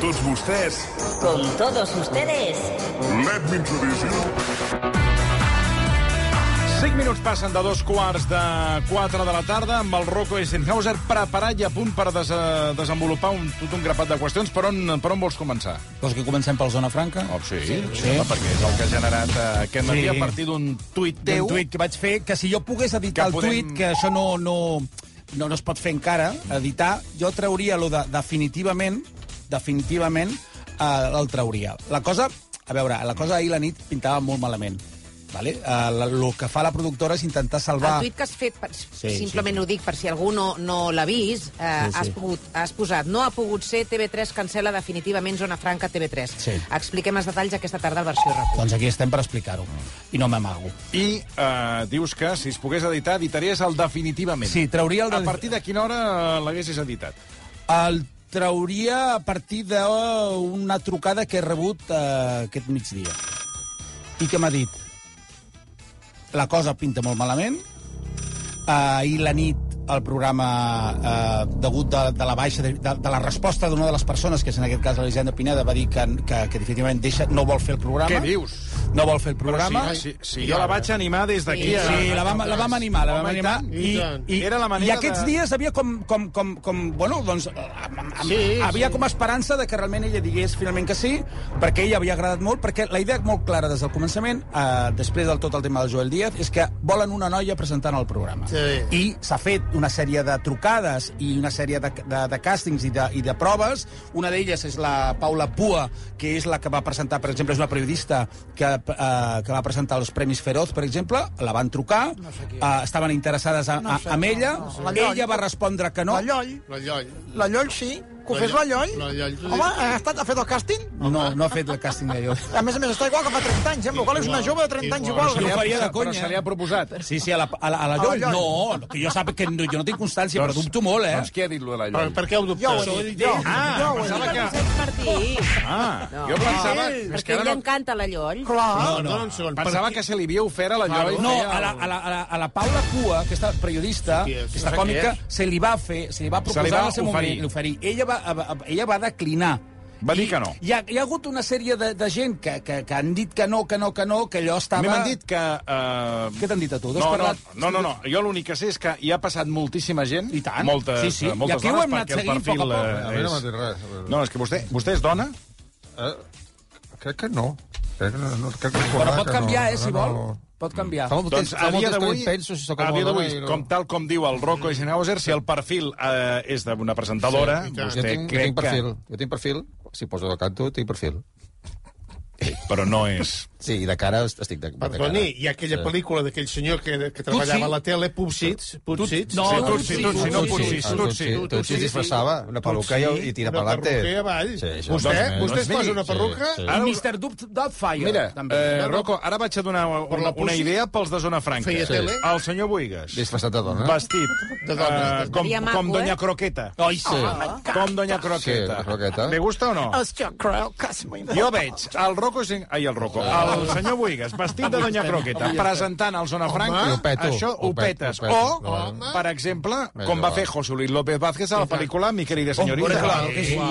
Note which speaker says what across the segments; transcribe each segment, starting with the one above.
Speaker 1: tots vostès,
Speaker 2: Con todos ustedes.
Speaker 1: let me introduce you.
Speaker 3: 5 minuts passen de dos quarts de 4 de la tarda amb el Rocco Eisenhauser preparat i a punt per des desenvolupar un, tot un grapat de qüestions. Per on, per on vols començar?
Speaker 4: Doncs que comencem pel Zona Franca.
Speaker 3: Oh, sí, sí,
Speaker 4: sí.
Speaker 3: home, perquè és el que ha generat eh, aquest matí
Speaker 4: Sí.
Speaker 3: a partir d'un tuit
Speaker 4: D'un
Speaker 3: teu.
Speaker 4: tuit que vaig fer, que si jo pogués editar
Speaker 3: Que
Speaker 4: el
Speaker 3: podem-
Speaker 4: tuit, que això no, no, no, no es pot fer encara, editar, jo trauria lo de definitivament, definitivament, eh, el trauria. La cosa, a veure, la cosa ahir la nit pintava molt malament. Vale? Eh, la- lo que fa la productora és intentar salvar...
Speaker 5: El tuit que has fet, per,
Speaker 4: Sí,
Speaker 5: sí,
Speaker 4: sí,
Speaker 5: simplement
Speaker 4: sí.
Speaker 5: sí. ho dic per si algú no, no l'ha vist,
Speaker 4: Sí,
Speaker 5: eh, sí,
Speaker 4: sí.
Speaker 5: sí. Has, pogut, has posat no ha pogut ser, TV3 cancela definitivament Zona Franca TV3.
Speaker 4: Sí.
Speaker 5: Expliquem els detalls aquesta tarda al versió RAC1.
Speaker 4: Doncs aquí estem per explicar-ho. I no m'amago.
Speaker 3: I eh, dius que si es pogués editar, editaries el definitivament.
Speaker 4: Sí, trauria el...
Speaker 3: A partir de quina hora eh, l'haguessis editat?
Speaker 4: El trauria a partir d'una trucada que he rebut eh, aquest migdia. I que m'ha dit... La cosa pinta molt malament. Eh, ahir la nit el programa, eh, degut de, de la baixa, de, de, de la resposta d'una de les persones, que és en aquest cas l'Elisenda Pineda, va dir que, que, que definitivament deixa, no vol fer el programa.
Speaker 3: Què dius?
Speaker 4: No vol fer el programa.
Speaker 3: Però ah, si, si, si jo la vaig animar des d'aquí... a-
Speaker 4: Sí, la vam, la vam animar, la
Speaker 3: eh?
Speaker 4: vam
Speaker 3: Home, i
Speaker 4: animar.
Speaker 3: tant,
Speaker 4: I,
Speaker 3: i tant. Era la manera
Speaker 4: I aquests
Speaker 3: de-
Speaker 4: dies havia com, com, com, com bueno, doncs, amb, amb, sí, havia com esperança de que realment ella digués finalment que sí, perquè ella havia agradat molt, perquè la idea molt clara des del començament, eh, després del tot el tema del Joel Díaz, és que volen una noia presentant el programa. Sí. I s'ha fet una sèrie de trucades i una sèrie de, de, de càstings i de, i de proves. Una d'elles és la Paula Pua, que és la que va presentar, per exemple, és una periodista que, eh, que va presentar els Premis Feroz, per exemple, la van trucar, no sé eh, estaven interessades a, a, amb ella, no sé. ella va respondre que no.
Speaker 6: La Lloll.
Speaker 7: La Lloll.
Speaker 6: La Lloll, sí. Que ho fes la
Speaker 7: La
Speaker 6: Lloll.
Speaker 7: Lloll. La Lloll, sí.
Speaker 6: Home, ha, estat, ha fet el càsting?
Speaker 4: No, no ha fet el càsting d'allò.
Speaker 6: A més a més, està igual que fa 30 anys, eh? amb la qual cosa és una jove de 30 anys
Speaker 7: Igual.
Speaker 6: igual.
Speaker 4: Jo ho faria de
Speaker 3: Però
Speaker 4: conya.
Speaker 3: se li ha proposat.
Speaker 4: Sí, sí, a la, a la, a la,
Speaker 6: la
Speaker 4: Lloll.
Speaker 6: Lloll.
Speaker 4: No, no, que jo sap que no, jo no tinc constància, però dubto molt, eh?
Speaker 3: Doncs què ha dit lo de la
Speaker 7: Per,
Speaker 3: Lloll?
Speaker 7: per què ho
Speaker 6: Jo
Speaker 7: dubtes?
Speaker 6: ho he dit, jo.
Speaker 3: Ah,
Speaker 6: jo ho he
Speaker 3: pensava
Speaker 6: dit.
Speaker 3: que...
Speaker 5: Josep Martí.
Speaker 3: Ah,
Speaker 5: No.
Speaker 3: jo pensava...
Speaker 5: Ell,
Speaker 3: És que
Speaker 5: perquè a ell
Speaker 3: ara
Speaker 5: li
Speaker 3: no...
Speaker 5: encanta la Lloll.
Speaker 6: Clar.
Speaker 7: No, no, un segon.
Speaker 3: Pensava
Speaker 7: Per-
Speaker 3: que se li havia ofert a la Lloll.
Speaker 4: No,
Speaker 3: feia
Speaker 4: a la, a, la, a, la, a la Paula Cua, aquesta periodista,
Speaker 7: Qui
Speaker 4: que
Speaker 7: és?
Speaker 4: és la
Speaker 7: No sé
Speaker 4: còmica,
Speaker 7: qui
Speaker 4: se li va fer, se li va proposar
Speaker 3: li va
Speaker 4: en el seu
Speaker 3: oferir.
Speaker 4: moment oferir. Ella va, a- a- ella va declinar.
Speaker 3: Va dir que no.
Speaker 4: Hi ha, hi ha hagut una sèrie de, de gent que, que, que han dit que no, que no, que no, que allò
Speaker 3: A
Speaker 4: estava...
Speaker 3: mi m'han dit que... Uh...
Speaker 4: Què t'han dit a tu? Dos
Speaker 3: No, no,
Speaker 4: parlat-
Speaker 3: no, no, no. Jo l'únic que sé és que hi ha passat moltíssima gent.
Speaker 4: I tant.
Speaker 3: Moltes,
Speaker 4: Sí, sí.
Speaker 3: eh, Moltes
Speaker 4: I aquí ho
Speaker 3: dones,
Speaker 4: hem anat
Speaker 3: perquè el
Speaker 4: seguint
Speaker 3: perfil,
Speaker 4: poc a poc.
Speaker 3: eh,
Speaker 8: A mi no m'ha dit
Speaker 3: és...
Speaker 8: res.
Speaker 3: No, és que vostè, vostè és dona?
Speaker 8: Eh, crec que no. Crec que no, no crec que
Speaker 4: Però
Speaker 9: Ah,
Speaker 8: recordar
Speaker 4: pot
Speaker 8: que
Speaker 4: canviar,
Speaker 8: no,
Speaker 4: eh, si
Speaker 8: no,
Speaker 4: vol.
Speaker 8: no.
Speaker 4: Pot canviar.
Speaker 8: Fa molt temps, fa
Speaker 3: Doncs, a
Speaker 8: molt
Speaker 3: dia
Speaker 8: temps que
Speaker 3: d'avui,
Speaker 8: hi penso si sóc
Speaker 3: a dia
Speaker 8: home o
Speaker 3: d'avui,
Speaker 8: dona i no.
Speaker 3: com tal com diu el Rocco Eisenhauser, si el perfil eh, és d'una presentadora,
Speaker 7: Sí, i tant.
Speaker 8: Jo
Speaker 3: vostè
Speaker 8: tinc, jo
Speaker 3: crec
Speaker 8: tinc perfil.
Speaker 3: que...
Speaker 8: Jo tinc perfil. Si poso de canto, tinc perfil.
Speaker 3: Però no és...
Speaker 8: Sí, i de cara estic de, de cara.
Speaker 7: Perdoni, i aquella pel·lícula d'aquell senyor que, que treballava a la tele, Pupsits? Pupsits?
Speaker 4: no,
Speaker 3: Sí,
Speaker 4: no,
Speaker 3: Tutsi,
Speaker 4: sí,
Speaker 3: Tutsi, no
Speaker 8: Ah,
Speaker 3: Tutsis,
Speaker 4: sí,
Speaker 8: Tutsi,
Speaker 3: Tutsi.
Speaker 8: Tutsi, Tutsi es disfressava, una peluca i, i tira
Speaker 7: Una
Speaker 8: pelante.
Speaker 7: perruca avall.
Speaker 8: això
Speaker 7: Vostè-
Speaker 8: més o menys.
Speaker 7: vostè es posa una
Speaker 8: Sí,
Speaker 7: perruca?
Speaker 8: sí.
Speaker 4: I
Speaker 3: Ara-
Speaker 4: Mr. Dub- Doubtfire.
Speaker 3: Mira,
Speaker 4: també.
Speaker 3: eh, Rocco, ara vaig a donar
Speaker 7: Per
Speaker 3: una,
Speaker 7: la
Speaker 3: una
Speaker 7: Pussy
Speaker 3: idea pels de Zona Franca.
Speaker 7: feia tele.
Speaker 3: El senyor Buigas.
Speaker 8: Disfressat de Ah. dona.
Speaker 3: Vestit.
Speaker 7: De dona.
Speaker 3: eh, com,
Speaker 5: Seria maco,
Speaker 3: com Doña
Speaker 5: eh?
Speaker 3: Croqueta.
Speaker 4: Ai, sí.
Speaker 3: Com Doña Croqueta.
Speaker 8: Sí, Croqueta.
Speaker 3: ¿Le gusta o no?
Speaker 6: Hòstia, creu que és molt
Speaker 3: Jo veig el Rocco... Sin- Ai, el Rocco.
Speaker 8: Ah.
Speaker 3: El senyor Buigas, vestit de Doña Croqueta, presentant el Zona Franca.
Speaker 8: I ho peto,
Speaker 3: Això ho
Speaker 8: ho peto,
Speaker 3: petes.
Speaker 8: ho peto.
Speaker 3: O,
Speaker 8: Home.
Speaker 3: per exemple,
Speaker 8: Vinga,
Speaker 3: com va
Speaker 8: va.
Speaker 3: fer José Luis López Vázquez a la pel·lícula Mi querida
Speaker 4: Hombre,
Speaker 3: señorita.
Speaker 4: claro que sí,
Speaker 3: Que fa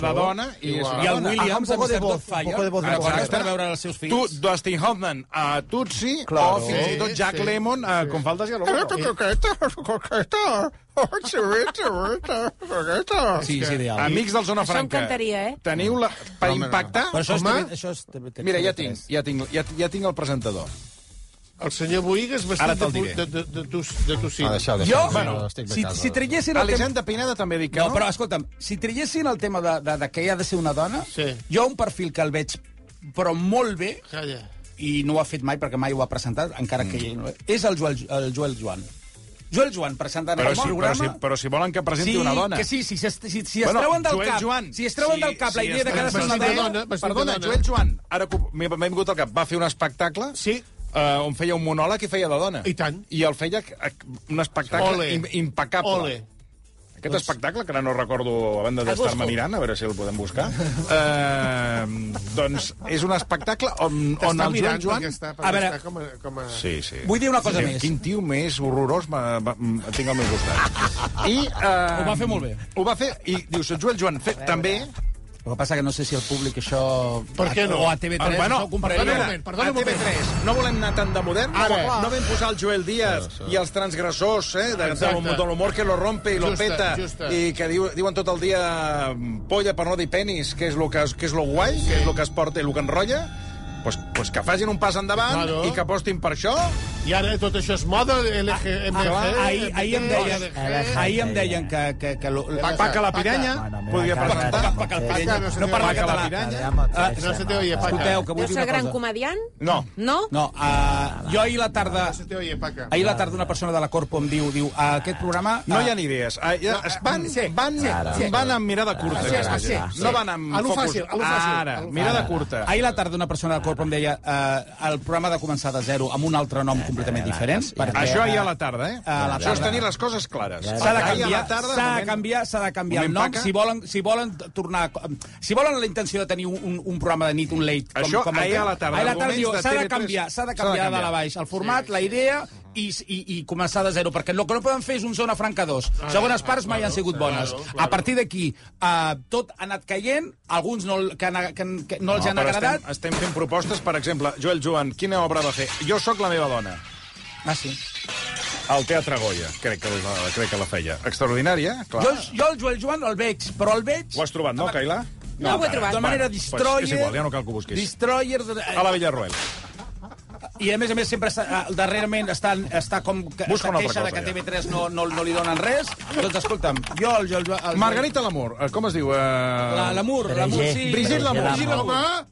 Speaker 3: de dona i és
Speaker 4: I
Speaker 3: una
Speaker 4: el
Speaker 3: dona.
Speaker 4: Williams
Speaker 6: un
Speaker 4: amb
Speaker 6: poco de
Speaker 4: Mr.
Speaker 6: voz, un poco de voz.
Speaker 4: Doubtfire.
Speaker 3: Exacte.
Speaker 4: Ara estan a veure els seus
Speaker 3: Tu,
Speaker 4: fills.
Speaker 3: Dustin Hoffman a Tutsi o
Speaker 4: Claro.
Speaker 3: fins i tot
Speaker 7: Sí,
Speaker 3: Jack
Speaker 7: sí.
Speaker 3: Lemmon eh, a Confaldes i a Loro.
Speaker 8: Croqueta, croqueta. Oh, xerreta, croqueta.
Speaker 4: Sí, és ideal.
Speaker 3: Amics del Zona
Speaker 5: Això
Speaker 3: Franca.
Speaker 5: encantaria, eh?
Speaker 3: Teniu la... Per
Speaker 8: No, home, no.
Speaker 3: impactar,
Speaker 4: Però això és,
Speaker 3: home...
Speaker 4: TV, això és TV,
Speaker 3: Mira, ja tinc, ja tinc, ja, ja tinc el presentador.
Speaker 7: El senyor Boigues
Speaker 3: Ara
Speaker 7: vestit
Speaker 3: te'l
Speaker 7: de,
Speaker 3: diré.
Speaker 7: pu- de, de, de, tus- de
Speaker 8: Ah,
Speaker 7: tocino.
Speaker 8: deixeu,
Speaker 4: Jo,
Speaker 8: deixeu.
Speaker 4: bueno,
Speaker 8: estic de
Speaker 4: si,
Speaker 8: casa.
Speaker 4: si traiessin el tema...
Speaker 3: Alexandre Pineda també dic que
Speaker 4: No,
Speaker 3: no.
Speaker 4: però escolta'm, si traiessin el tema de, de, de que hi ha de ser una dona,
Speaker 7: Sí.
Speaker 4: jo un perfil que el veig però molt bé,
Speaker 7: Calla.
Speaker 4: i no ho ha fet mai perquè mai ho ha presentat, encara que
Speaker 3: Mm.
Speaker 4: ell no és, és el Joel, el Joel Joan. Joel Joan presentant
Speaker 3: Però
Speaker 4: el
Speaker 3: si, però,
Speaker 4: programa...
Speaker 3: si, però si volen que presenti
Speaker 4: sí,
Speaker 3: una dona.
Speaker 4: Que sí, sí, si, es- si, si es
Speaker 3: Bueno,
Speaker 4: treuen del
Speaker 3: Joel
Speaker 4: cap,
Speaker 3: Joan,
Speaker 4: si es treuen
Speaker 3: si-
Speaker 4: del cap la
Speaker 3: si
Speaker 4: idea de
Speaker 3: es
Speaker 4: que ha de ser una
Speaker 7: vestit de
Speaker 4: dona...
Speaker 7: dona, vestit de
Speaker 3: Perdona,
Speaker 7: dona.
Speaker 3: Joel Joan, ara que m'he m'he vingut al cap, va fer un espectacle
Speaker 7: Sí.
Speaker 3: eh, on feia un monòleg i feia de dona.
Speaker 7: I tant.
Speaker 3: I el feia eh, un espectacle
Speaker 7: Ole.
Speaker 3: im impecable.
Speaker 7: Ole. Doncs-
Speaker 3: Aquest espectacle, que ara no recordo a banda d'estar-me mirant, a veure si el podem buscar, eh, doncs és un espectacle on, on
Speaker 7: T'està
Speaker 3: el Joel
Speaker 7: mirant
Speaker 3: Joan...
Speaker 7: perquè està,
Speaker 4: A
Speaker 7: perquè
Speaker 4: veure.
Speaker 7: està com a... Com a...
Speaker 3: Sí, sí.
Speaker 4: Vull dir una cosa
Speaker 3: Sí,
Speaker 4: més.
Speaker 3: Quin tio més horrorós ma- ma- m- tinc al meu costat. I, eh,
Speaker 4: Ho va fer molt bé.
Speaker 3: Ho va fer, i dius, Joel Joan, fet també
Speaker 4: El que passa que no sé si el públic això...
Speaker 7: Per què no?
Speaker 4: O a TV3
Speaker 7: Ah, bueno,
Speaker 4: això ho compraria.
Speaker 7: perdona un moment, perdona
Speaker 3: a
Speaker 7: un moment.
Speaker 3: TV3, no volem anar tant de modern.
Speaker 7: Ara.
Speaker 3: No, no vam posar el Joel Díaz i els transgressors eh, de, de,
Speaker 7: Exacte.
Speaker 3: de l'humor que lo rompe i lo
Speaker 7: Justa,
Speaker 3: peta
Speaker 7: justa.
Speaker 3: i que diu, diuen tot el dia mm, polla per no dir penis, que és lo que, que és lo guai, que és lo que es porta i lo que enrotlla. Pues, pues que facin un pas endavant
Speaker 7: Claro.
Speaker 3: i que apostin per això.
Speaker 7: I ara tot això és moda, LG,
Speaker 3: Eh,
Speaker 7: MG...
Speaker 4: Clar, Ah, ahir, ahir em deien,
Speaker 7: LG.
Speaker 4: ahir em deien que... que, que lo,
Speaker 7: Paca,
Speaker 3: Paca la piranya
Speaker 10: Bueno, mira,
Speaker 3: podria
Speaker 10: calma,
Speaker 3: presentar.
Speaker 10: calma,
Speaker 4: Paca,
Speaker 10: sí.
Speaker 4: paca,
Speaker 7: no sé
Speaker 4: no
Speaker 7: si
Speaker 4: parla
Speaker 7: paca la
Speaker 4: català.
Speaker 7: piranya.
Speaker 10: Calma,
Speaker 4: Ah,
Speaker 10: sí,
Speaker 7: no se te oye, Paca.
Speaker 4: Escolteu, que vull
Speaker 5: Deu
Speaker 4: dir
Speaker 5: ser gran
Speaker 4: una cosa.
Speaker 5: comediant?
Speaker 3: No.
Speaker 5: No?
Speaker 4: No, uh, jo ahir la tarda...
Speaker 7: No se te oye, Paca.
Speaker 4: Ahir la tarda una persona de la Corpo em diu, diu "A aquest programa...
Speaker 3: No
Speaker 4: eh,
Speaker 3: hi ha ni idees. Ah, ja Es van, van, van amb mirada curta.
Speaker 7: Sí,
Speaker 3: aquesta
Speaker 7: sí,
Speaker 3: gent.
Speaker 7: sí.
Speaker 3: No van amb
Speaker 7: A lo
Speaker 3: focus.
Speaker 7: fàcil, a lo fàcil.
Speaker 3: Ara,
Speaker 7: A lo
Speaker 3: mirada curta.
Speaker 4: Ahir la tarda una persona de Corpo em deia eh, el programa ha de començar de zero amb un altre nom completament diferent. Perquè,
Speaker 3: Això ahir a la tarda, eh?
Speaker 4: A la
Speaker 3: Això és
Speaker 4: tarda.
Speaker 3: tenir les coses clares.
Speaker 4: S'ha de
Speaker 3: Ahir a
Speaker 4: canviar,
Speaker 3: la tarda,
Speaker 4: s'ha de
Speaker 3: moment-
Speaker 4: canviar, s'ha de canviar el
Speaker 3: moment
Speaker 4: nom
Speaker 3: paca.
Speaker 4: si volen, si volen tornar... a co- Si volen la intenció de tenir un, un programa de nit, un late...
Speaker 3: Això ahir a la tarda,
Speaker 4: Ahir a la tarda
Speaker 3: arguments
Speaker 4: diu,
Speaker 3: de
Speaker 4: s'ha de
Speaker 3: TV3.
Speaker 4: canviar, s'ha de
Speaker 3: S'ha de
Speaker 4: canviar de
Speaker 3: canviar.
Speaker 4: la baix el format, la idea i, i, i començar de zero, perquè el que no poden fer és un zona franca 2. Segones parts mai han sigut bones. A partir d'aquí, eh, tot ha anat caient, alguns no, el- que, han- que, han- que no els han
Speaker 3: però
Speaker 4: agradat...
Speaker 3: Estem, estem fent propostes, per exemple, Joel Joan, quina obra va fer? Jo sóc la meva dona.
Speaker 4: Ah, sí.
Speaker 3: Al Teatre Goya, crec que la, crec que la feia. Extraordinària, clar.
Speaker 4: Jo, jo el Joel Joan el veig, però el veig...
Speaker 3: Ho has trobat, no, Cailà?
Speaker 5: No, ho he trobat.
Speaker 4: De manera Destroyer...
Speaker 3: Pues és igual, ja no cal que ho busquis.
Speaker 4: Destroyer...
Speaker 3: A la Villarroel.
Speaker 4: I a més a més sempre està, ah, darrerament està, està com que,
Speaker 3: Busca una
Speaker 4: una
Speaker 3: altra
Speaker 4: queixa de
Speaker 3: cosa,
Speaker 4: que TV3 no, no, no li donen res. Doncs escolta'm, jo el... jo el, el
Speaker 3: Margarita Lamur, eh, com es diu? Eh...
Speaker 4: la- L'amor, l'amor, sí.
Speaker 3: Brigitte Lamour.
Speaker 10: Brigitte Lamour.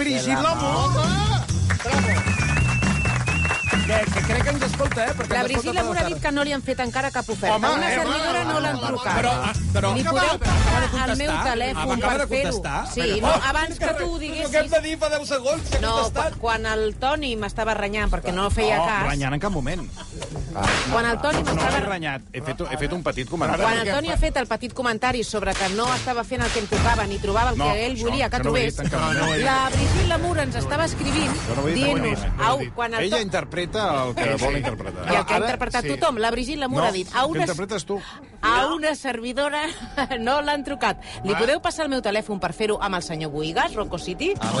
Speaker 3: Brigitte Lamour!
Speaker 4: Que, que crec que ens escolta, eh? Perquè
Speaker 5: La
Speaker 4: ens escolta
Speaker 5: Brigitte
Speaker 4: tota
Speaker 5: Lamour ha dit
Speaker 4: tarda.
Speaker 5: que no li han fet encara cap oferta.
Speaker 3: Home,
Speaker 5: Home, una
Speaker 3: eh,
Speaker 5: servidora no l'han trucat.
Speaker 4: Però, ah, però...
Speaker 5: Li
Speaker 4: Acaba-
Speaker 5: podeu
Speaker 4: acaba de
Speaker 5: passar el meu
Speaker 4: contestar.
Speaker 5: telèfon
Speaker 4: Acaba
Speaker 5: per
Speaker 4: de
Speaker 5: fer-ho.
Speaker 4: contestar.
Speaker 5: Sí,
Speaker 4: Però-
Speaker 5: no, abans que tu ho
Speaker 4: Però què hem
Speaker 5: diguessis...
Speaker 4: de dir fa 10 segons? Si ha
Speaker 5: No,
Speaker 4: contestat.
Speaker 5: quan- quan el Toni m'estava renyant perquè no feia
Speaker 3: No,
Speaker 5: cas,
Speaker 3: Oh, renyant en cap moment.
Speaker 5: quan el
Speaker 3: No
Speaker 5: Toni
Speaker 3: l'he
Speaker 5: m'estava
Speaker 3: renyat. He fet, he fet un petit comentari.
Speaker 5: quan el Toni ha fet el petit comentari sobre que no estava fent el que em tocava ni trobava el
Speaker 3: No,
Speaker 5: que ell
Speaker 3: això-
Speaker 5: volia que
Speaker 3: això no ho he
Speaker 5: trobés,
Speaker 3: dit en cap moment.
Speaker 5: la Brigitte Lamour ens estava escrivint
Speaker 3: no ho he dit en cap
Speaker 5: dient-nos...
Speaker 3: moment.
Speaker 5: Au, quan el
Speaker 3: Ella
Speaker 5: Toni...
Speaker 3: interpreta el que vol interpretar.
Speaker 5: I el que ha interpretat tothom, la Brigitte Lamour
Speaker 3: No,
Speaker 5: ha dit... A
Speaker 3: que
Speaker 5: una,
Speaker 3: interpretes tu.
Speaker 5: A una servidora no l'han trucat. Li podeu passar el meu telèfon per fer-ho amb el senyor Buigas, Rocco City?
Speaker 3: A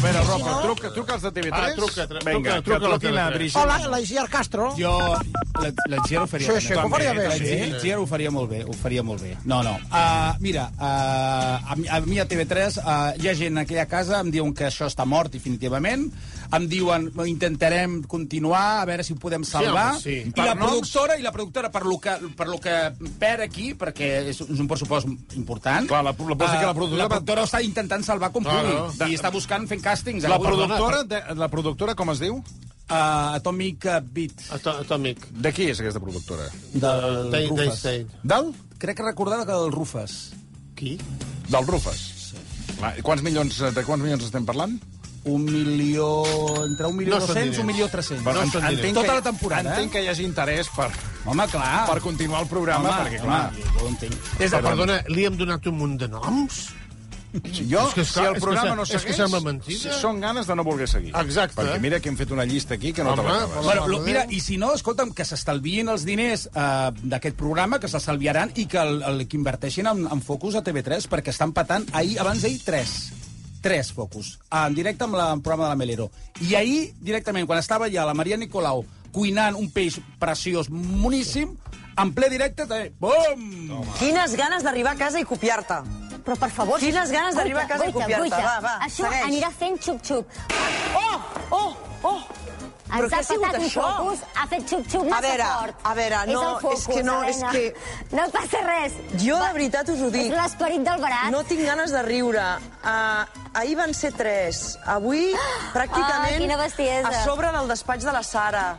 Speaker 3: veure, Roca, truca, truca els de TV3.
Speaker 7: Ah, truca, truca,
Speaker 3: Vinga,
Speaker 7: truca,
Speaker 3: que
Speaker 7: truca la
Speaker 3: truquin a
Speaker 7: TV3.
Speaker 3: Brigitte.
Speaker 6: Hola, l'Aisier Castro.
Speaker 4: Jo, la, la Gier ho faria
Speaker 6: Sí, sí, ho faria bé, sí.
Speaker 4: La Gier ho faria molt bé, ho faria molt bé. No, no. Uh, mira, uh, a, mi, a mi a TV3 uh, hi ha gent en aquella casa, em diuen que això està mort definitivament, em diuen intentarem continuar, a veure si ho podem salvar,
Speaker 7: home, sí.
Speaker 4: i la
Speaker 3: Per noms?
Speaker 4: productora, i la productora per lo que, per lo que perd aquí, perquè és, és un pressupost important, eh,
Speaker 3: Clar, la- la cosa que la productora
Speaker 4: la
Speaker 3: va-
Speaker 4: productora ho està intentant salvar com
Speaker 7: Clar,
Speaker 4: pugui,
Speaker 7: no.
Speaker 4: i està buscant fent càstings. eh,
Speaker 3: La productora, de, la productora, com es diu?
Speaker 4: Uh, Atomic Beat,
Speaker 7: Atòmic.
Speaker 3: De qui és aquesta productora?
Speaker 4: del
Speaker 7: Day, day,
Speaker 4: Rufus.
Speaker 7: day.
Speaker 3: Del?
Speaker 4: Crec que recordava que del Rufes.
Speaker 7: Qui?
Speaker 3: Del Rufes. Va, i quants milions, eh, de quants milions estem parlant?
Speaker 4: Un milió... Entre un milió
Speaker 7: No
Speaker 4: 200
Speaker 7: són
Speaker 4: i un
Speaker 7: diners.
Speaker 4: milió 300.
Speaker 7: No són diners.
Speaker 4: Tota la temporada,
Speaker 3: Entenc que hi hagi interès per,
Speaker 4: Home, clar.
Speaker 3: per continuar el programa,
Speaker 4: home,
Speaker 3: perquè, clar,
Speaker 4: Home, jo ho entenc.
Speaker 7: És de, perdona, li hem donat un munt de noms?
Speaker 3: jo,
Speaker 7: És que és
Speaker 3: si
Speaker 7: clar,
Speaker 3: el
Speaker 7: és que
Speaker 3: programa
Speaker 7: se-
Speaker 3: no
Speaker 7: és que
Speaker 3: segueix,
Speaker 7: sembla mentida.
Speaker 3: són ganes de no voler seguir.
Speaker 7: Exacte.
Speaker 3: Perquè mira que hem fet una llista aquí que no te
Speaker 7: Home,
Speaker 3: l'acabes.
Speaker 4: Bueno, lo, mira, i si no, escolta'm, que s'estalvien els diners eh, d'aquest programa, que s'estalviaran i que, el, el, que inverteixin en, en Focus a TV3, perquè estan patant ahir, abans d'ahir, 3. 3 Focus, Ah, en directe amb la, amb el programa de la Melero. I ahir, directament, quan estava ja la Maria Nicolau cuinant un peix preciós, moníssim, en ple directe, també, bum!
Speaker 11: Quines ganes d'arribar a casa i copiar-te.
Speaker 12: Però, per favor...
Speaker 11: Quines ganes d'arribar a casa i
Speaker 12: buita,
Speaker 11: copiar-te.
Speaker 12: buita.
Speaker 11: Va, va,
Speaker 12: Això
Speaker 11: segueix.
Speaker 12: anirà fent xup-xup.
Speaker 11: Oh, oh, oh! Però
Speaker 12: Ens
Speaker 11: què
Speaker 12: ha
Speaker 11: ha sigut
Speaker 12: patat un
Speaker 11: això?
Speaker 12: focus, ha fet xup-xup massa
Speaker 11: veure,
Speaker 12: fort.
Speaker 11: a veure, no,
Speaker 12: és, el focus,
Speaker 11: és que no, és
Speaker 12: Helena.
Speaker 11: que-
Speaker 12: No passa res.
Speaker 11: Jo, de veritat, us ho dic.
Speaker 12: És l'esperit del barat.
Speaker 11: No tinc ganes de riure. Uh, ahir van ser tres. Avui, pràcticament,
Speaker 12: Ah, quina bestiesa.
Speaker 11: a sobre del despatx de la Sara.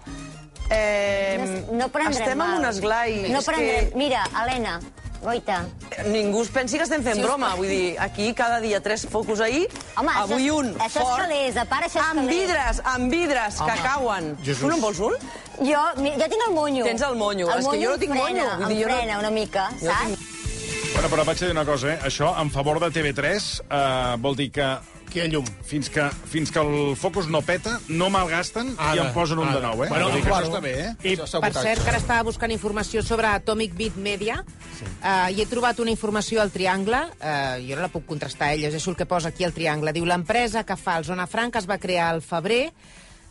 Speaker 11: Eh,
Speaker 12: No, es- no prendrem
Speaker 11: estem
Speaker 12: mal.
Speaker 11: en un esglai.
Speaker 12: No
Speaker 11: És
Speaker 12: prendrem. Que... Mira, Helena, goita.
Speaker 11: Que ningú es pensi que estem fent
Speaker 12: Sí, us
Speaker 11: broma.
Speaker 12: pot-
Speaker 11: Vull dir, aquí cada dia tres focus ahir,
Speaker 12: Home, això
Speaker 11: avui
Speaker 12: és-
Speaker 11: un
Speaker 12: això és eh?
Speaker 11: fort.
Speaker 12: calés, a part això és
Speaker 11: amb
Speaker 12: calés.
Speaker 11: vidres, amb vidres, que cauen.
Speaker 7: Jesús.
Speaker 11: Tu no en vols un?
Speaker 12: Jo, mi- jo tinc el monyo.
Speaker 11: Tens el monyo. És que jo no
Speaker 12: em
Speaker 11: tinc monyo.
Speaker 12: frena,
Speaker 11: Vull dir,
Speaker 12: Em
Speaker 11: jo no-
Speaker 12: frena una mica,
Speaker 11: Jo
Speaker 12: saps?
Speaker 11: tinc-
Speaker 3: Bueno, però vaig a dir una cosa, eh? Això, en favor de TV3, eh, vol dir que
Speaker 7: Aquí hi ha llum.
Speaker 3: Fins que, fins que el focus no peta, no malgasten
Speaker 4: Ah,
Speaker 7: Ara,
Speaker 3: i en posen un
Speaker 7: ara.
Speaker 3: de nou, eh?
Speaker 7: Bueno,
Speaker 3: Vull dir que
Speaker 7: claro.
Speaker 3: això està bé, eh?
Speaker 7: I,
Speaker 5: Per cert, que ara estava buscant informació sobre Atomic Beat Media sí. uh, i he trobat una informació al Triangle, uh, jo no la puc contrastar, ell és el que posa aquí al Triangle. Diu, l'empresa que fa el Zona Franca es va crear al febrer,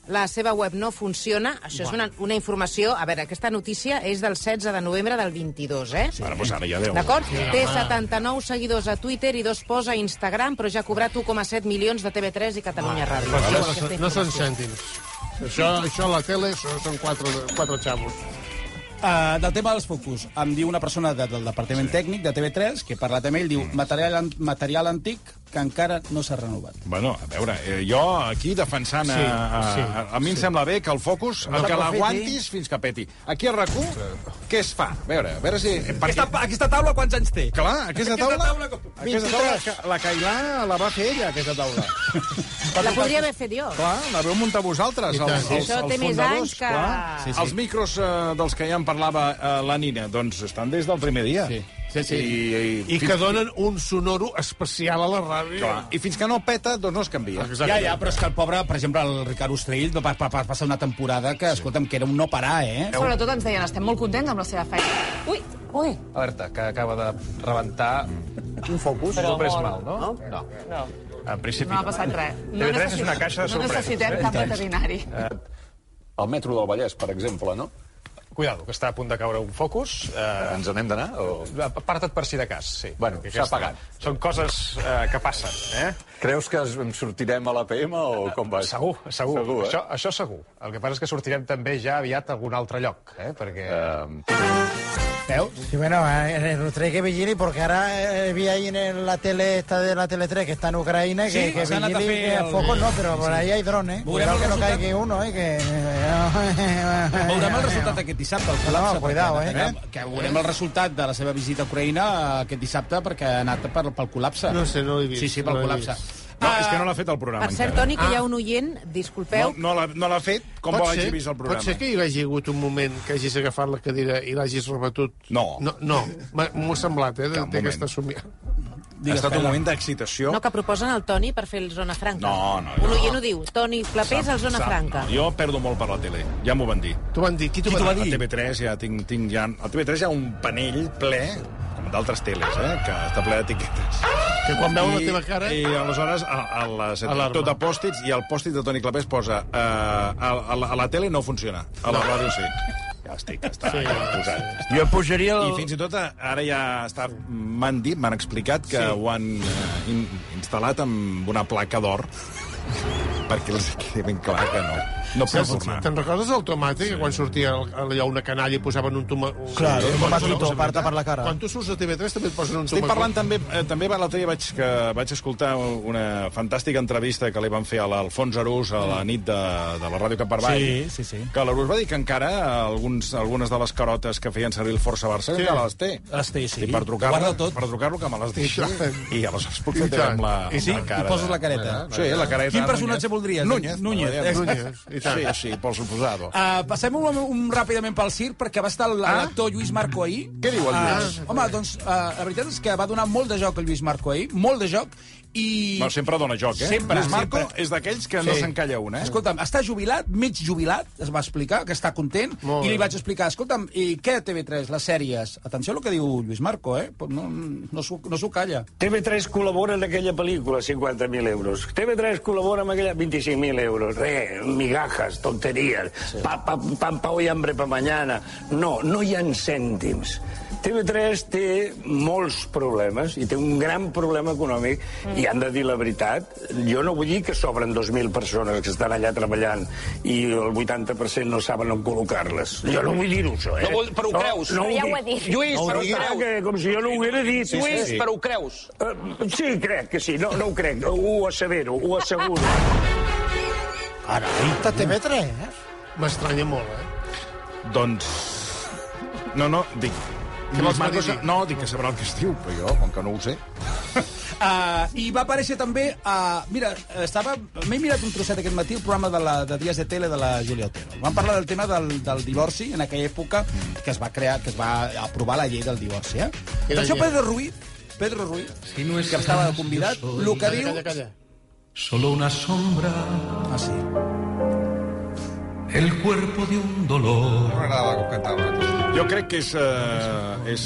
Speaker 5: la seva web no funciona. Això és una, una informació... A veure, aquesta notícia és del 16 de novembre del 22, eh?
Speaker 3: Ara, doncs ara ja deu.
Speaker 5: D'acord? Té 79 seguidors a Twitter i dos posa a Instagram, però ja ha cobrat 1,7 milions de TV3 i Catalunya Ràdio.
Speaker 7: Però
Speaker 5: Llavors,
Speaker 7: no,
Speaker 5: aquesta
Speaker 7: no són
Speaker 5: informació.
Speaker 7: cèntims. Això, això a la tele són, són quatre, quatre xavos.
Speaker 4: Uh, del tema dels focus, em diu una persona de, del Departament sí. Tècnic de TV3, que he parlat amb ell, diu
Speaker 3: Mm.
Speaker 4: material, an- material antic que encara no s'ha renovat.
Speaker 3: Bueno, a veure, eh, jo aquí defensant... Sí, a, a,
Speaker 7: sí,
Speaker 3: a, a mi em sembla bé que el focus, el que l'aguantis fins que peti. Aquí a RAC1, què es fa? A veure, a veure si... Perquè,
Speaker 4: aquesta taula quants anys té?
Speaker 3: clar, aquesta taula...
Speaker 4: taula com-
Speaker 3: Aquesta taula, la- la Cailà la va fer ella, aquesta taula.
Speaker 5: La podria haver fet jo.
Speaker 3: Clar, la veu muntar vosaltres,
Speaker 7: I tant.
Speaker 3: els, els,
Speaker 5: Això
Speaker 3: els
Speaker 5: té més
Speaker 3: fundadors,
Speaker 5: anys que-
Speaker 3: clar.
Speaker 4: Ah.
Speaker 3: Sí,
Speaker 5: Sí,
Speaker 3: sí. Els micros eh, dels que ja en parlava eh, la Nina, doncs estan des del primer dia. Sí, sí. sí. I, i,
Speaker 7: I que donen un sonoro especial a la ràdio.
Speaker 3: clar, I fins que no peta, doncs no es canvia.
Speaker 7: Exacte.
Speaker 4: Ja, ja, però és que el pobre, per exemple, el Ricard Ostrell va, va, va passar una temporada que, escolta'm, que era un no parar, eh?
Speaker 10: Sobretot ens deien, estem molt contents amb la seva feina. Ui, ui.
Speaker 13: Alerta, que acaba de rebentar un focus. Però pres mal, no? No. no.
Speaker 10: No,
Speaker 13: En principi
Speaker 10: no ha passat res. No
Speaker 13: TV3
Speaker 10: necessit-
Speaker 13: és una caixa de sorpreses,
Speaker 10: No necessitem
Speaker 13: eh?
Speaker 10: cap veterinari.
Speaker 14: El metro del Vallès, per exemple, no?
Speaker 13: Cuidado, que està a punt de caure un focus. Eh,
Speaker 14: Ens n'hem d'anar? O...
Speaker 13: Aparta't per si de cas, sí.
Speaker 14: Bueno,
Speaker 13: Perquè
Speaker 14: s'ha
Speaker 13: aquesta-
Speaker 14: apagat.
Speaker 13: Són coses eh, que passen, eh?
Speaker 14: Creus que es- en sortirem a l'APM o com va?
Speaker 13: Segur, segur.
Speaker 14: Segur, eh?
Speaker 13: això, això segur. El que passa és que sortirem també ja aviat a algun altre lloc, eh? Perquè... Veus?
Speaker 6: Sí, bueno, eh, en Utrey que vigili, porque ahora eh, vi ahí en el- la tele esta de la Tele 3 que está en Ucrania, que,
Speaker 4: Sí,
Speaker 6: que
Speaker 4: se han
Speaker 6: vigili,
Speaker 4: atafe
Speaker 6: que
Speaker 4: al-
Speaker 6: focos no, pero por ahí hay drones. ¿eh?
Speaker 4: Veurem
Speaker 6: Cuidado
Speaker 4: el
Speaker 6: que no
Speaker 4: resultat.
Speaker 6: caiga uno, eh, que...
Speaker 4: Veurem el resultat aquest dissabte. El col·lapse,
Speaker 6: No, cuidao,
Speaker 4: perquè-
Speaker 6: eh?
Speaker 4: Que veurem el resultat de la seva visita a Ucraïna eh, aquest dissabte perquè ha anat per, pel col·lapse.
Speaker 7: No sé, no l'he vist,
Speaker 4: Sí, sí, pel
Speaker 7: no l'he
Speaker 4: col·lapse.
Speaker 3: No, és que no l'ha fet el programa.
Speaker 5: Per cert,
Speaker 3: encara.
Speaker 5: Toni, que
Speaker 13: Ah.
Speaker 5: hi ha un oient, disculpeu,
Speaker 3: No, no l'ha no l'ha fet com vol hagi vist el programa.
Speaker 7: Pot ser que hi hagi hagut un moment que hagis agafat la cadira i l'hagis rebatut?
Speaker 3: No.
Speaker 7: No, no. M'ha- m'ho ha semblat, eh,
Speaker 3: Cap moment.
Speaker 7: d'aquesta somia.
Speaker 3: Ha estat un moment d'excitació.
Speaker 5: No, que proposen el Toni per fer el Zona Franca.
Speaker 3: No, no,
Speaker 5: Un
Speaker 3: no.
Speaker 5: oient ho diu. Toni Clapés al Zona
Speaker 3: Sap,
Speaker 5: Franca.
Speaker 3: No, jo perdo molt per la tele, ja m'ho van dir.
Speaker 7: T'ho van dir? Qui t'ho
Speaker 3: Qui
Speaker 7: va,
Speaker 3: A TV3 ja tinc, tinc ja... A TV3 hi ha un panell ple, com d'altres teles, eh, que està ple d'etiquetes.
Speaker 7: Que quan veu la
Speaker 3: I-
Speaker 7: teva cara...
Speaker 3: I aleshores, a, a les,
Speaker 7: Alarma.
Speaker 3: tot a pòstits, i el pòstit de Toni Clapés posa eh, a, a, la- a la tele no funciona, a la ràdio sí. Ja estic, Ah, ja està
Speaker 7: Sí.
Speaker 3: sí. posat.
Speaker 13: Jo pujaria
Speaker 3: I fins i tot eh, ara ja està... M'han dit, m'han explicat que sí. ho han eh, in, instal·lat amb una placa d'or perquè els quedi ben clar que no. No
Speaker 7: Te'n
Speaker 3: puc tornar.
Speaker 7: te'n recordes del tomàtic, que quan sortia el- allà una canalla i posaven un toma... un-
Speaker 6: Claro,
Speaker 7: un
Speaker 6: un tomatito para tapar la cara.
Speaker 7: Quan tu surts de TV3 també et posen un
Speaker 3: Estic
Speaker 7: tomàtic.
Speaker 3: parlant també, eh, també va l'altre dia vaig, que vaig escoltar una fantàstica entrevista que li van fer a l'Alfons Arús a la nit de, de la ràdio Cap per Avall.
Speaker 4: Sí, sí, sí.
Speaker 3: Que l'Arús va dir que encara alguns, algunes de les carotes que feien servir el Força Barça sí. encara les té.
Speaker 4: Les té, sí.
Speaker 3: I per
Speaker 4: Guarda
Speaker 3: trucar-lo,
Speaker 4: tot.
Speaker 3: per trucar-lo que me les deixi.
Speaker 7: I tant.
Speaker 3: I aleshores
Speaker 7: I
Speaker 3: potser té
Speaker 7: tant.
Speaker 3: amb la,
Speaker 7: I sí,
Speaker 3: amb la
Speaker 4: I
Speaker 3: cara.
Speaker 4: poses Ah, la
Speaker 3: de-
Speaker 4: careta.
Speaker 3: Sí, la careta.
Speaker 4: Quin personatge voldries?
Speaker 3: Núñez.
Speaker 4: Núñez.
Speaker 3: Núñez.
Speaker 7: Núñez, i tant.
Speaker 3: Sí, sí, por suposado.
Speaker 4: Uh, passem un, un, ràpidament pel circ, perquè va estar l- l'actor Lluís Marco ahir.
Speaker 3: Què diu el Lluís?
Speaker 4: Uh, home, doncs, uh, la veritat és que va donar molt de joc el Lluís Marco ahir, molt de joc, i...
Speaker 3: No, sempre dona joc, eh?
Speaker 4: Sempre,
Speaker 3: Lluís Marco
Speaker 4: sempre.
Speaker 3: és d'aquells que no s'encalla una, eh?
Speaker 4: Escolta'm, està jubilat, mig jubilat, es va explicar, que està content,
Speaker 7: Molt
Speaker 4: i li
Speaker 7: bé.
Speaker 4: vaig explicar, escolta'm, i què TV3, les sèries? Atenció al que diu Lluís Marco, eh? No, no, s'ho- no s'ho calla.
Speaker 15: TV3 col·labora en aquella pel·lícula, 50.000 euros. TV3 col·labora en aquella... 25.000 euros. Re, migajas, tonteries. Sí. Pa, pa, pan, pa hoy, hambre pa mañana. No, no hi ha cèntims. TV3 té molts problemes i té un gran problema econòmic mm. i han de dir la veritat. Jo no vull dir que sobren 2.000 persones que estan allà treballant i el 80% no saben on col·locar-les. Jo no vull dir-ho, això, eh?
Speaker 16: No vol- però ho creus?
Speaker 15: No,
Speaker 12: Però ja ho ha
Speaker 15: dic.
Speaker 12: dit.
Speaker 16: Lluís,
Speaker 15: No,
Speaker 16: però
Speaker 15: ho
Speaker 16: ho
Speaker 15: dic, ah,
Speaker 16: creus?
Speaker 15: que, com si jo no ho haguera dit.
Speaker 16: Lluís, però ho creus?
Speaker 15: Eh, sí, crec que sí. No, no ho crec. Ho assevero, ho asseguro.
Speaker 6: Está TV3, eh?
Speaker 7: M'estranya molt, eh?
Speaker 3: Doncs... No, no, dic...
Speaker 7: Què vols
Speaker 3: Lluís Marcos,
Speaker 7: que digui?
Speaker 3: no, dic que sabrà el que es diu, però jo, com que no ho sé...
Speaker 4: Uh, I va aparèixer també... Uh, mira, estava... M'he mirat un trosset aquest matí el programa de, la, de Dies de Tele de la Júlia Otero. Van parlar del tema del, del divorci en aquella època que es va crear, que es va aprovar la llei del divorci, eh?
Speaker 7: Era
Speaker 4: Atenció,
Speaker 7: llei.
Speaker 4: Pedro Ruiz, Pedro Ruiz, si no és que estava convidat, el que diu... Ah,
Speaker 7: Calla, calla.
Speaker 17: Solo una sombra.
Speaker 4: Así.
Speaker 17: El cuerpo de un dolor.
Speaker 8: M'agradava com cantava.
Speaker 3: Jo crec que és... Eh, és...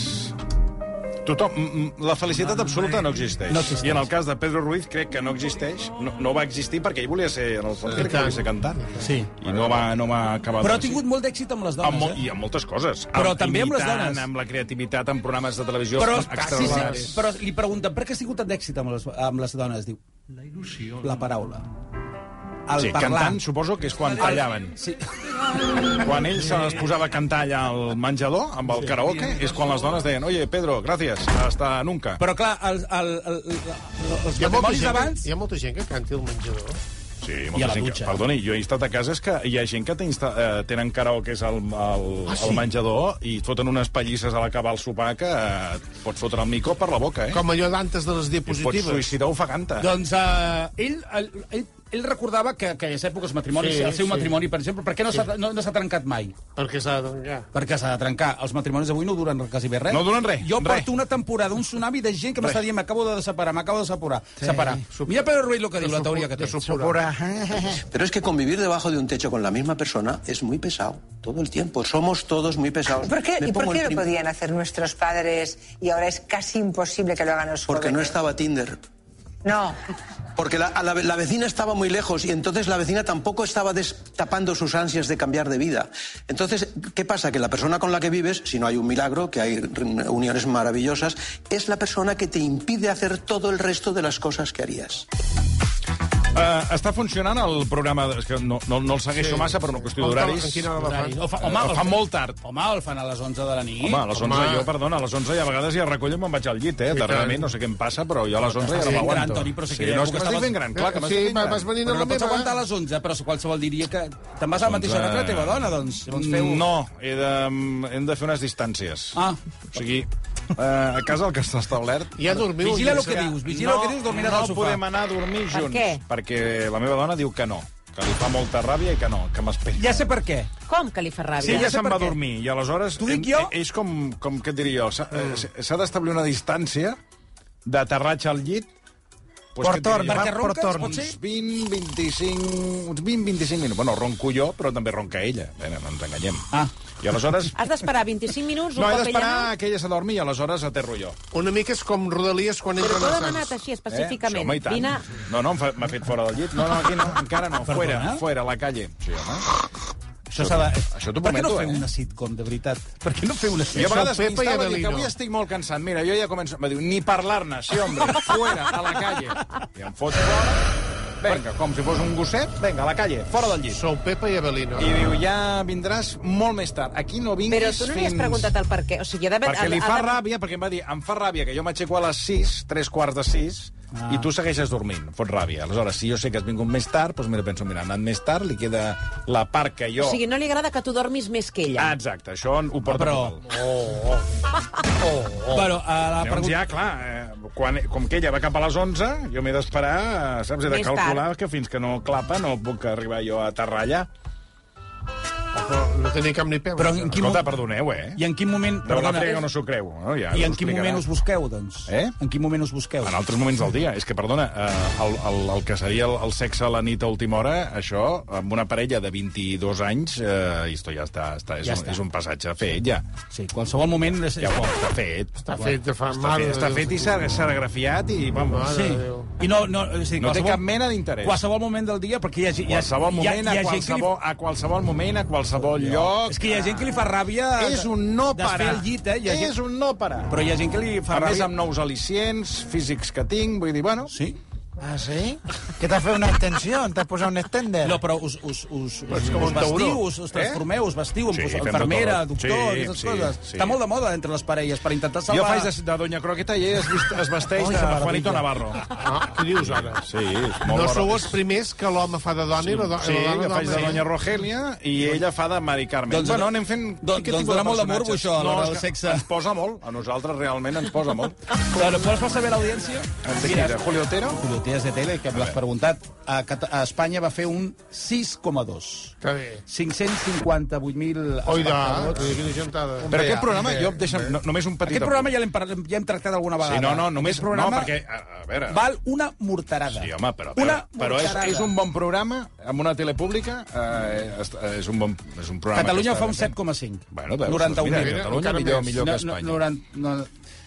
Speaker 3: Tothom, m- m- la felicitat absoluta no existeix.
Speaker 4: No existeix.
Speaker 3: I en el cas de Pedro Ruiz crec que no existeix, no, no va existir perquè ell volia ser, en el fons,
Speaker 4: I
Speaker 3: crec que
Speaker 4: tant.
Speaker 3: volia ser cantant.
Speaker 4: Sí.
Speaker 3: I no va, no va acabar...
Speaker 4: Però ha
Speaker 3: de-
Speaker 4: tingut molt d'èxit amb les dones,
Speaker 3: amb, mol-
Speaker 4: eh?
Speaker 3: I amb moltes coses.
Speaker 4: Però també amb les
Speaker 3: imitant,
Speaker 4: dones.
Speaker 3: Amb la creativitat, amb programes de televisió
Speaker 4: Però, sí,
Speaker 3: extraordinaris.
Speaker 4: sí, però li pregunten per què has tingut tant d'èxit amb, les- amb les dones? Diu, la paraula. El
Speaker 3: sí,
Speaker 4: parlar.
Speaker 3: cantant suposo que és quan tallaven.
Speaker 4: Sí.
Speaker 3: Quan ell se les posava a cantar allà al menjador, amb el karaoke, és quan les dones deien «Oye, Pedro, gràcies, hasta nunca».
Speaker 4: Però clar, el, el, el, el, els
Speaker 7: Hi ha, molta
Speaker 4: matrimonis
Speaker 7: gent,
Speaker 4: d'abans...
Speaker 7: hi ha molta gent que canti al menjador.
Speaker 3: Sí,
Speaker 7: I a
Speaker 3: molta
Speaker 7: la
Speaker 3: gent. Que,
Speaker 7: dutxa.
Speaker 3: perdoni, jo he estat a cases que hi ha gent que té insta, eh, tenen karaokes al, al, ah, sí? al menjador i et foten unes pallisses a l'acabar el sopar que eh, et pots fotre el micó per la boca, eh?
Speaker 7: Com allò d'antes de les
Speaker 3: I et pots
Speaker 7: diapositives.
Speaker 3: suïcidar ofegant-te.
Speaker 4: Doncs uh, ell, el, ell, ell recordava que, que a les èpoques matrimonis,
Speaker 7: Sí,
Speaker 4: sí, el seu
Speaker 7: sí.
Speaker 4: sí. matrimoni, per exemple, per què no s'ha no, no s'ha trencat mai?
Speaker 7: Perquè s'ha de trencar.
Speaker 4: Perquè s'ha de trencar. Els matrimonis avui no duren quasi bé res.
Speaker 3: No duren res,
Speaker 4: Jo
Speaker 3: res.
Speaker 4: porto una temporada, un tsunami de gent que m'està dient m'acabo de separar, m'acabo de separar. Sí. separar. Mira Pedro Ruiz lo que diu, la teoria que té.
Speaker 9: Pero es que convivir debajo de un techo con la misma persona es muy pesado, todo el tiempo. Somos todos muy pesados.
Speaker 18: ¿Por qué,
Speaker 9: Me
Speaker 18: ¿Y por
Speaker 9: pongo
Speaker 18: qué
Speaker 9: el
Speaker 18: lo
Speaker 9: prim-
Speaker 18: podían hacer nuestros padres y ahora es casi imposible que lo hagan los
Speaker 9: Porque no
Speaker 18: jóvenes?
Speaker 9: estaba Tinder.
Speaker 18: No.
Speaker 9: Porque la, a la, la vecina estaba muy lejos y entonces la vecina tampoco estaba destapando sus ansias de cambiar de vida. Entonces, ¿qué pasa? Que la persona con la que vives, si no hay un milagro, que hay mm, uniones maravillosas, es la persona que te impide hacer todo el resto de las cosas que harías.
Speaker 3: Eh, està funcionant el programa... És que no, no, no el segueixo sí. massa per una qüestió d'horaris.
Speaker 4: Ho fa,
Speaker 3: home,
Speaker 4: home,
Speaker 3: el fa molt tard.
Speaker 4: Home, el fan a les 11 de la nit.
Speaker 3: Home, a les 11, jo, perdona, a les 11 ja a vegades ja recollo i me'n vaig al llit, eh?
Speaker 4: I
Speaker 3: Darrerament,
Speaker 4: tant.
Speaker 3: no sé què em passa, però jo a les 11 ja
Speaker 4: T'estàs
Speaker 3: no
Speaker 4: fent
Speaker 3: m'aguanto.
Speaker 4: gran, Toni, però sí que
Speaker 3: sí,
Speaker 4: ja
Speaker 3: no,
Speaker 4: ho
Speaker 3: és que
Speaker 4: estaves-
Speaker 3: m'estic fent gran, clar que m'estic
Speaker 4: Sí,
Speaker 3: fent gran.
Speaker 4: vas venint a la meva. però qualsevol diria que te'n vas a la mateixa hora que la teva dona, doncs. Llavors feu...
Speaker 3: No, he de, mm, hem de fer unes distàncies.
Speaker 4: Ah.
Speaker 3: O sigui, eh, a casa el que està
Speaker 7: eh?
Speaker 3: establert...
Speaker 4: Ja dormiu Vigila el que dius, vigila
Speaker 3: no,
Speaker 4: el que dius, dormiràs
Speaker 3: no
Speaker 4: al sofà.
Speaker 3: podem anar a dormir
Speaker 4: Per
Speaker 3: junts.
Speaker 4: què?
Speaker 3: Perquè la meva dona diu que no, que li fa molta ràbia i que no, que m'esperi.
Speaker 4: Ja sé per què.
Speaker 5: Com que li fa ràbia?
Speaker 3: Sí, ja se'n va a dormir, i aleshores... T'ho dic jo? És com, com què et diria jo, s'ha eh, s'ha d'establir una distància d'aterratge al llit Pues
Speaker 4: Per
Speaker 3: què et diria?
Speaker 4: torn, perquè
Speaker 3: Va,
Speaker 4: ronques,
Speaker 3: torn,
Speaker 4: pot ser?
Speaker 3: Uns 20, 25... Uns 20, 25 minuts. Bueno, ronco jo, però també ronca ella. Bé, no ens enganyem. Ah. I aleshores...
Speaker 5: Has d'esperar 25 minuts, un
Speaker 3: No, he
Speaker 5: cop ella
Speaker 3: d'esperar
Speaker 5: no...
Speaker 3: a que ella s'adormi i aleshores aterro jo. eh?
Speaker 7: Una mica és com Rodalies quan
Speaker 5: Però
Speaker 7: entren
Speaker 5: t'ho he
Speaker 7: els
Speaker 5: demanat
Speaker 7: Sants.
Speaker 5: així,
Speaker 3: Eh?
Speaker 5: específicament.
Speaker 3: Sí, home, i
Speaker 5: Vine...
Speaker 3: tant. No, no, em fa- m'ha fet fora del llit. No, no, aquí no, encara no.
Speaker 4: Perdona?
Speaker 3: Fuera, fuera, a la calle. Sí, home.
Speaker 4: Això s'ha de...
Speaker 3: Això t'ho
Speaker 4: Per què no
Speaker 3: prometo,
Speaker 4: feu
Speaker 3: eh?
Speaker 4: una sitcom, de veritat? Per què no feu una
Speaker 3: Jo a
Speaker 4: sitcom?
Speaker 3: vegades m'instava a dir que avui estic molt cansat. Mira, jo ja començo... Me diu, ni parlar-ne, sí, home, fuera, a la calle. I em fot fora. Vinga, com si fos un gosset, vinga, a la calle, fora del llit.
Speaker 7: Sou Pepa i Avelino.
Speaker 3: I diu, ja vindràs molt més tard. Aquí no vinguis
Speaker 5: Però tu no li has
Speaker 3: fins-
Speaker 5: preguntat el per què. O sigui, ha d'haver...
Speaker 3: Perquè li
Speaker 5: ha
Speaker 3: fa
Speaker 5: d'haver-
Speaker 3: ràbia, perquè em va dir, em fa ràbia que jo m'aixeco a les 6, 3 quarts de 6, ah. i tu segueixes dormint, fots ràbia. Aleshores, si jo sé que has vingut més tard, doncs mira, penso, mira, ha anat més tard, li queda la part que jo...
Speaker 5: O sigui, no li agrada que tu dormis més que ella.
Speaker 3: Ah, exacte, això ho porta
Speaker 4: Però-
Speaker 3: molt. Oh, oh. oh, oh.
Speaker 4: Bueno, a la
Speaker 3: Llavors,
Speaker 4: pregunta-
Speaker 3: ja, clar, eh, quan, com que ella va cap a les 11, jo m'he d'esperar, eh, saps, he de
Speaker 5: Més
Speaker 3: calcular que fins que no clapa no puc arribar jo a aterrar allà.
Speaker 7: No tenia cap ni peu.
Speaker 4: Però en quin
Speaker 3: Escolta,
Speaker 4: moment-
Speaker 3: perdoneu, eh?
Speaker 4: I en quin moment...
Speaker 3: De la
Speaker 4: perdona, eh,
Speaker 3: frega no s'ho creu. No? Ja,
Speaker 4: I
Speaker 3: us
Speaker 4: en quin
Speaker 3: explicarà.
Speaker 4: moment us busqueu, doncs?
Speaker 3: Eh?
Speaker 4: En quin moment us busqueu?
Speaker 3: En altres moments del dia. És que, perdona, eh, el, el, el que seria el, el sexe a la nit a última hora, això, amb una parella de 22 anys, eh, esto ja està, està, és,
Speaker 4: Ja
Speaker 3: ja un,
Speaker 4: està.
Speaker 3: és un passatge fet, ja.
Speaker 4: Sí, qualsevol moment... És...
Speaker 3: Ja ho està fet. Està
Speaker 7: fet, fa
Speaker 3: està
Speaker 7: mal.
Speaker 3: fet, està fet i s'ha s'ha grafiat i, vamos,
Speaker 4: Sí. I no, no, és a dir,
Speaker 3: No té
Speaker 4: qualsevol-
Speaker 3: cap mena d'interès.
Speaker 4: Qualsevol moment del dia, perquè hi ha, hi ha,
Speaker 3: qualsevol
Speaker 4: hi ha,
Speaker 3: moment,
Speaker 4: hi
Speaker 3: a,
Speaker 4: ha gent que li
Speaker 3: qualsevol, a qualsevol moment, a qualsevol lloc... Ah.
Speaker 4: És que hi ha gent que li fa ràbia...
Speaker 3: És un no
Speaker 4: desfer
Speaker 3: parar.
Speaker 4: el llit, eh? Hi ha
Speaker 3: És un no parar.
Speaker 4: Però hi ha gent que li fa
Speaker 3: A més,
Speaker 4: ràbia...
Speaker 3: amb nous al·licients físics que tinc, vull dir, bueno...
Speaker 4: Sí.
Speaker 6: Ah, sí? Que t'has fet una extensió, t'has posat un extender.
Speaker 4: No, però us, us, us, us,
Speaker 6: és com
Speaker 4: us
Speaker 6: un
Speaker 4: vestiu,
Speaker 6: tauró.
Speaker 4: us, us transformeu, us vestiu,
Speaker 3: Eh? Sí,
Speaker 4: sí,
Speaker 3: fem de
Speaker 4: enfermera,
Speaker 3: tot.
Speaker 4: doctor,
Speaker 3: Sí,
Speaker 4: aquestes
Speaker 3: sí,
Speaker 4: coses.
Speaker 3: sí.
Speaker 4: Està molt de moda entre les parelles per intentar
Speaker 3: Jo
Speaker 4: salvar...
Speaker 3: faig de, de Doña Croqueta i ell es, vist- es vesteix
Speaker 4: Ai,
Speaker 3: de
Speaker 4: que meravella.
Speaker 3: Juanito Navarro.
Speaker 7: Ah, què dius ara?
Speaker 3: Sí, és molt
Speaker 7: No
Speaker 3: hora.
Speaker 7: sou els primers que l'home fa de dona
Speaker 3: Sí,
Speaker 7: i la, do
Speaker 3: sí,
Speaker 7: i la dona
Speaker 3: jo faig de
Speaker 7: d'home.
Speaker 3: Doña Rogelia i ella fa de Mari Carmen.
Speaker 4: Doncs-
Speaker 3: bueno, anem fent...
Speaker 4: doncs-
Speaker 3: aquest
Speaker 4: doncs
Speaker 3: tipus de
Speaker 4: dona molt de
Speaker 3: personatges.
Speaker 4: morbo, això, a l'hora
Speaker 3: és
Speaker 4: del
Speaker 3: que
Speaker 4: sexe.
Speaker 3: Ens posa molt. A nosaltres realment ens posa molt.
Speaker 4: Claro, pots fer saber l'audiència?
Speaker 3: Ens Julio Otero?
Speaker 4: Julio sortides de tele que m'has preguntat, a, Cata- a Espanya va fer un 6,2. 558.000 espectadors.
Speaker 3: Però aquest programa, jo deixa'm no, només un petit...
Speaker 4: eh, Aquest programa ja l'hem parlat- ja hem tractat alguna vegada.
Speaker 3: Sí, no, no, només...
Speaker 4: Aquest programa
Speaker 3: No, perquè, a, a veure...
Speaker 4: val una
Speaker 3: Sí,
Speaker 4: morterada.
Speaker 3: home, però,
Speaker 4: Una
Speaker 3: però, però és,
Speaker 4: morterada.
Speaker 3: és un bon programa amb una tele pública. Eh, és, és, un bon, és un programa
Speaker 4: Catalunya
Speaker 3: que
Speaker 4: fa un
Speaker 3: està ben fet. eh?
Speaker 4: 7,5.
Speaker 3: Bueno, veus,
Speaker 4: 91.
Speaker 3: doncs mira, Catalunya
Speaker 4: Encara
Speaker 3: millor,
Speaker 4: més.
Speaker 3: millor que
Speaker 4: No, no,
Speaker 3: Espanya.
Speaker 4: 90, no,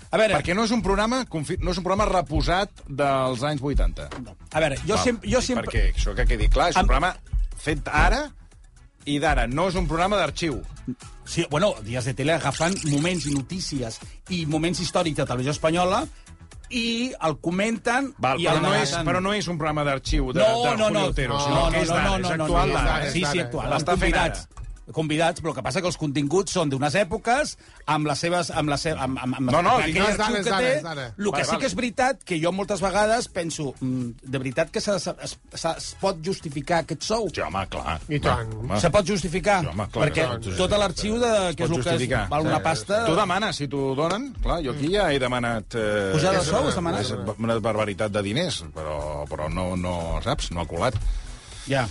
Speaker 4: a veure,
Speaker 3: Perquè no és un programa, confi- no és un programa reposat dels anys 80.
Speaker 4: A veure, jo sempre- jo sempre-
Speaker 3: Perquè això que quedi clar, és un programa fet ara i d'ara. No és un programa d'arxiu.
Speaker 4: Sí, bueno, dies de tele agafant moments i notícies i moments històrics de televisió espanyola i el comenten
Speaker 3: Val,
Speaker 4: i
Speaker 3: però,
Speaker 4: el
Speaker 3: no és,
Speaker 4: relaten.
Speaker 3: però no és un programa d'arxiu de,
Speaker 4: no,
Speaker 3: de
Speaker 4: no,
Speaker 3: Julio
Speaker 4: no,
Speaker 3: Otero,
Speaker 4: no,
Speaker 3: sinó
Speaker 4: no,
Speaker 3: que és
Speaker 4: no,
Speaker 3: d'ara,
Speaker 4: no,
Speaker 3: és
Speaker 4: no, no,
Speaker 3: actual
Speaker 4: no, no,
Speaker 3: d'ara.
Speaker 4: Sí, sí, actual.
Speaker 3: L'està
Speaker 4: Amb
Speaker 3: fent
Speaker 4: convidats.
Speaker 3: ara.
Speaker 4: convidats, però el que passa que els continguts són d'unes èpoques amb les seves... Amb les seves amb, amb, amb,
Speaker 3: No, no,
Speaker 4: amb
Speaker 3: dic- no, és
Speaker 4: aquell
Speaker 3: d'ara,
Speaker 4: arxiu
Speaker 3: és
Speaker 4: que
Speaker 3: d'ara,
Speaker 4: té.
Speaker 3: és d'ara.
Speaker 4: El que
Speaker 3: Vale,
Speaker 4: sí
Speaker 3: vale.
Speaker 4: que és veritat, que jo moltes vegades penso, mm, de veritat que se, se, es, se, es pot justificar aquest sou?
Speaker 3: Sí, home, clar.
Speaker 7: I tant.
Speaker 4: Se pot justificar?
Speaker 3: Sí, home, clar,
Speaker 4: perquè
Speaker 3: clar, clar.
Speaker 4: tot l'arxiu, de,
Speaker 3: Es
Speaker 4: que és
Speaker 3: pot
Speaker 4: el que es,
Speaker 3: justificar.
Speaker 4: val una
Speaker 3: Sí. Tota-
Speaker 4: pasta...
Speaker 3: Tu demanes, si t'ho donen. Clar, jo aquí ja he demanat... Eh,
Speaker 4: Pujada de
Speaker 3: és-
Speaker 4: sou, has demanat?
Speaker 3: és Una barbaritat de diners, però, però no, no, saps, no ha colat.
Speaker 4: Ja.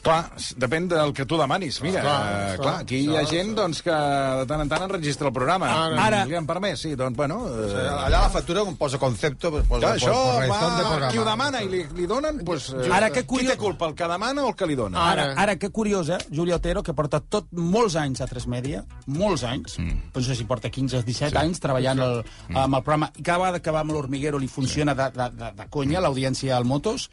Speaker 3: Clar, s- depèn del que tu demanis. Mira, clar,
Speaker 4: Clar,
Speaker 3: eh,
Speaker 4: clar,
Speaker 3: clar aquí hi ha
Speaker 4: clar,
Speaker 3: gent doncs, que de tant en tant enregistra el programa.
Speaker 4: Ara. Ara.
Speaker 3: Li han permès, sí, doncs, bueno... Eh,
Speaker 8: Allà la factura on posa concepto... Pues,
Speaker 4: Doncs,
Speaker 8: posa,
Speaker 3: Clar, això
Speaker 8: posa,
Speaker 3: va, qui ho demana i li, li donen, doncs, eh,
Speaker 4: Ara, que
Speaker 3: qui té culpa, el que demana o el que li dona?
Speaker 4: Ara, ara, que curiós, eh? Júlia Otero, que porta tot molts anys a 3 Media, molts anys, mm. no sé si porta 15 o 17 sí. anys treballant el, mm. amb el programa, i cada vegada que va amb l'Hormiguero li funciona de, de, de, de conya l'audiència al Motos,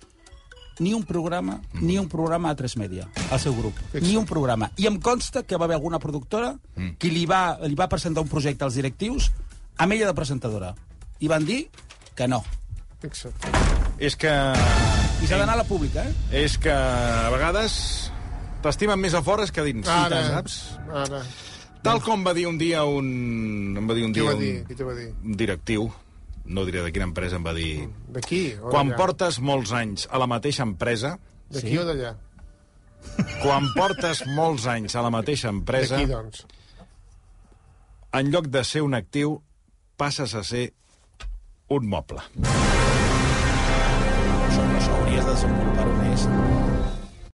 Speaker 4: ni un programa, ni un programa a 3 Media, al seu grup. Ni un programa. I em consta que va haver alguna productora mm. que li va, li va presentar un projecte als directius amb ella de presentadora. I van dir que no.
Speaker 7: Fixa't.
Speaker 3: És que...
Speaker 4: I s'ha d'anar a la pública, eh?
Speaker 3: És que a vegades t'estimen més a fora que a dins.
Speaker 7: Ara.
Speaker 3: Saps?
Speaker 7: Ara.
Speaker 3: Tal com va dir un dia un... Em va dir un
Speaker 7: Qui ho
Speaker 3: dia
Speaker 7: va
Speaker 3: un,
Speaker 7: dir? Qui t'ho va dir?
Speaker 3: un directiu, no diré de quina empresa, em va
Speaker 7: Mm.
Speaker 3: dir...
Speaker 7: D'aquí? o
Speaker 3: Quan
Speaker 7: d'allà?
Speaker 3: portes molts anys a la mateixa empresa...
Speaker 7: D'aquí o d'allà?
Speaker 3: Quan portes molts anys a la mateixa empresa,
Speaker 7: D'aquí, doncs.
Speaker 3: en lloc de ser un actiu, passes a ser un moble.
Speaker 4: Això, però això hauries de desenvolupar-ho més.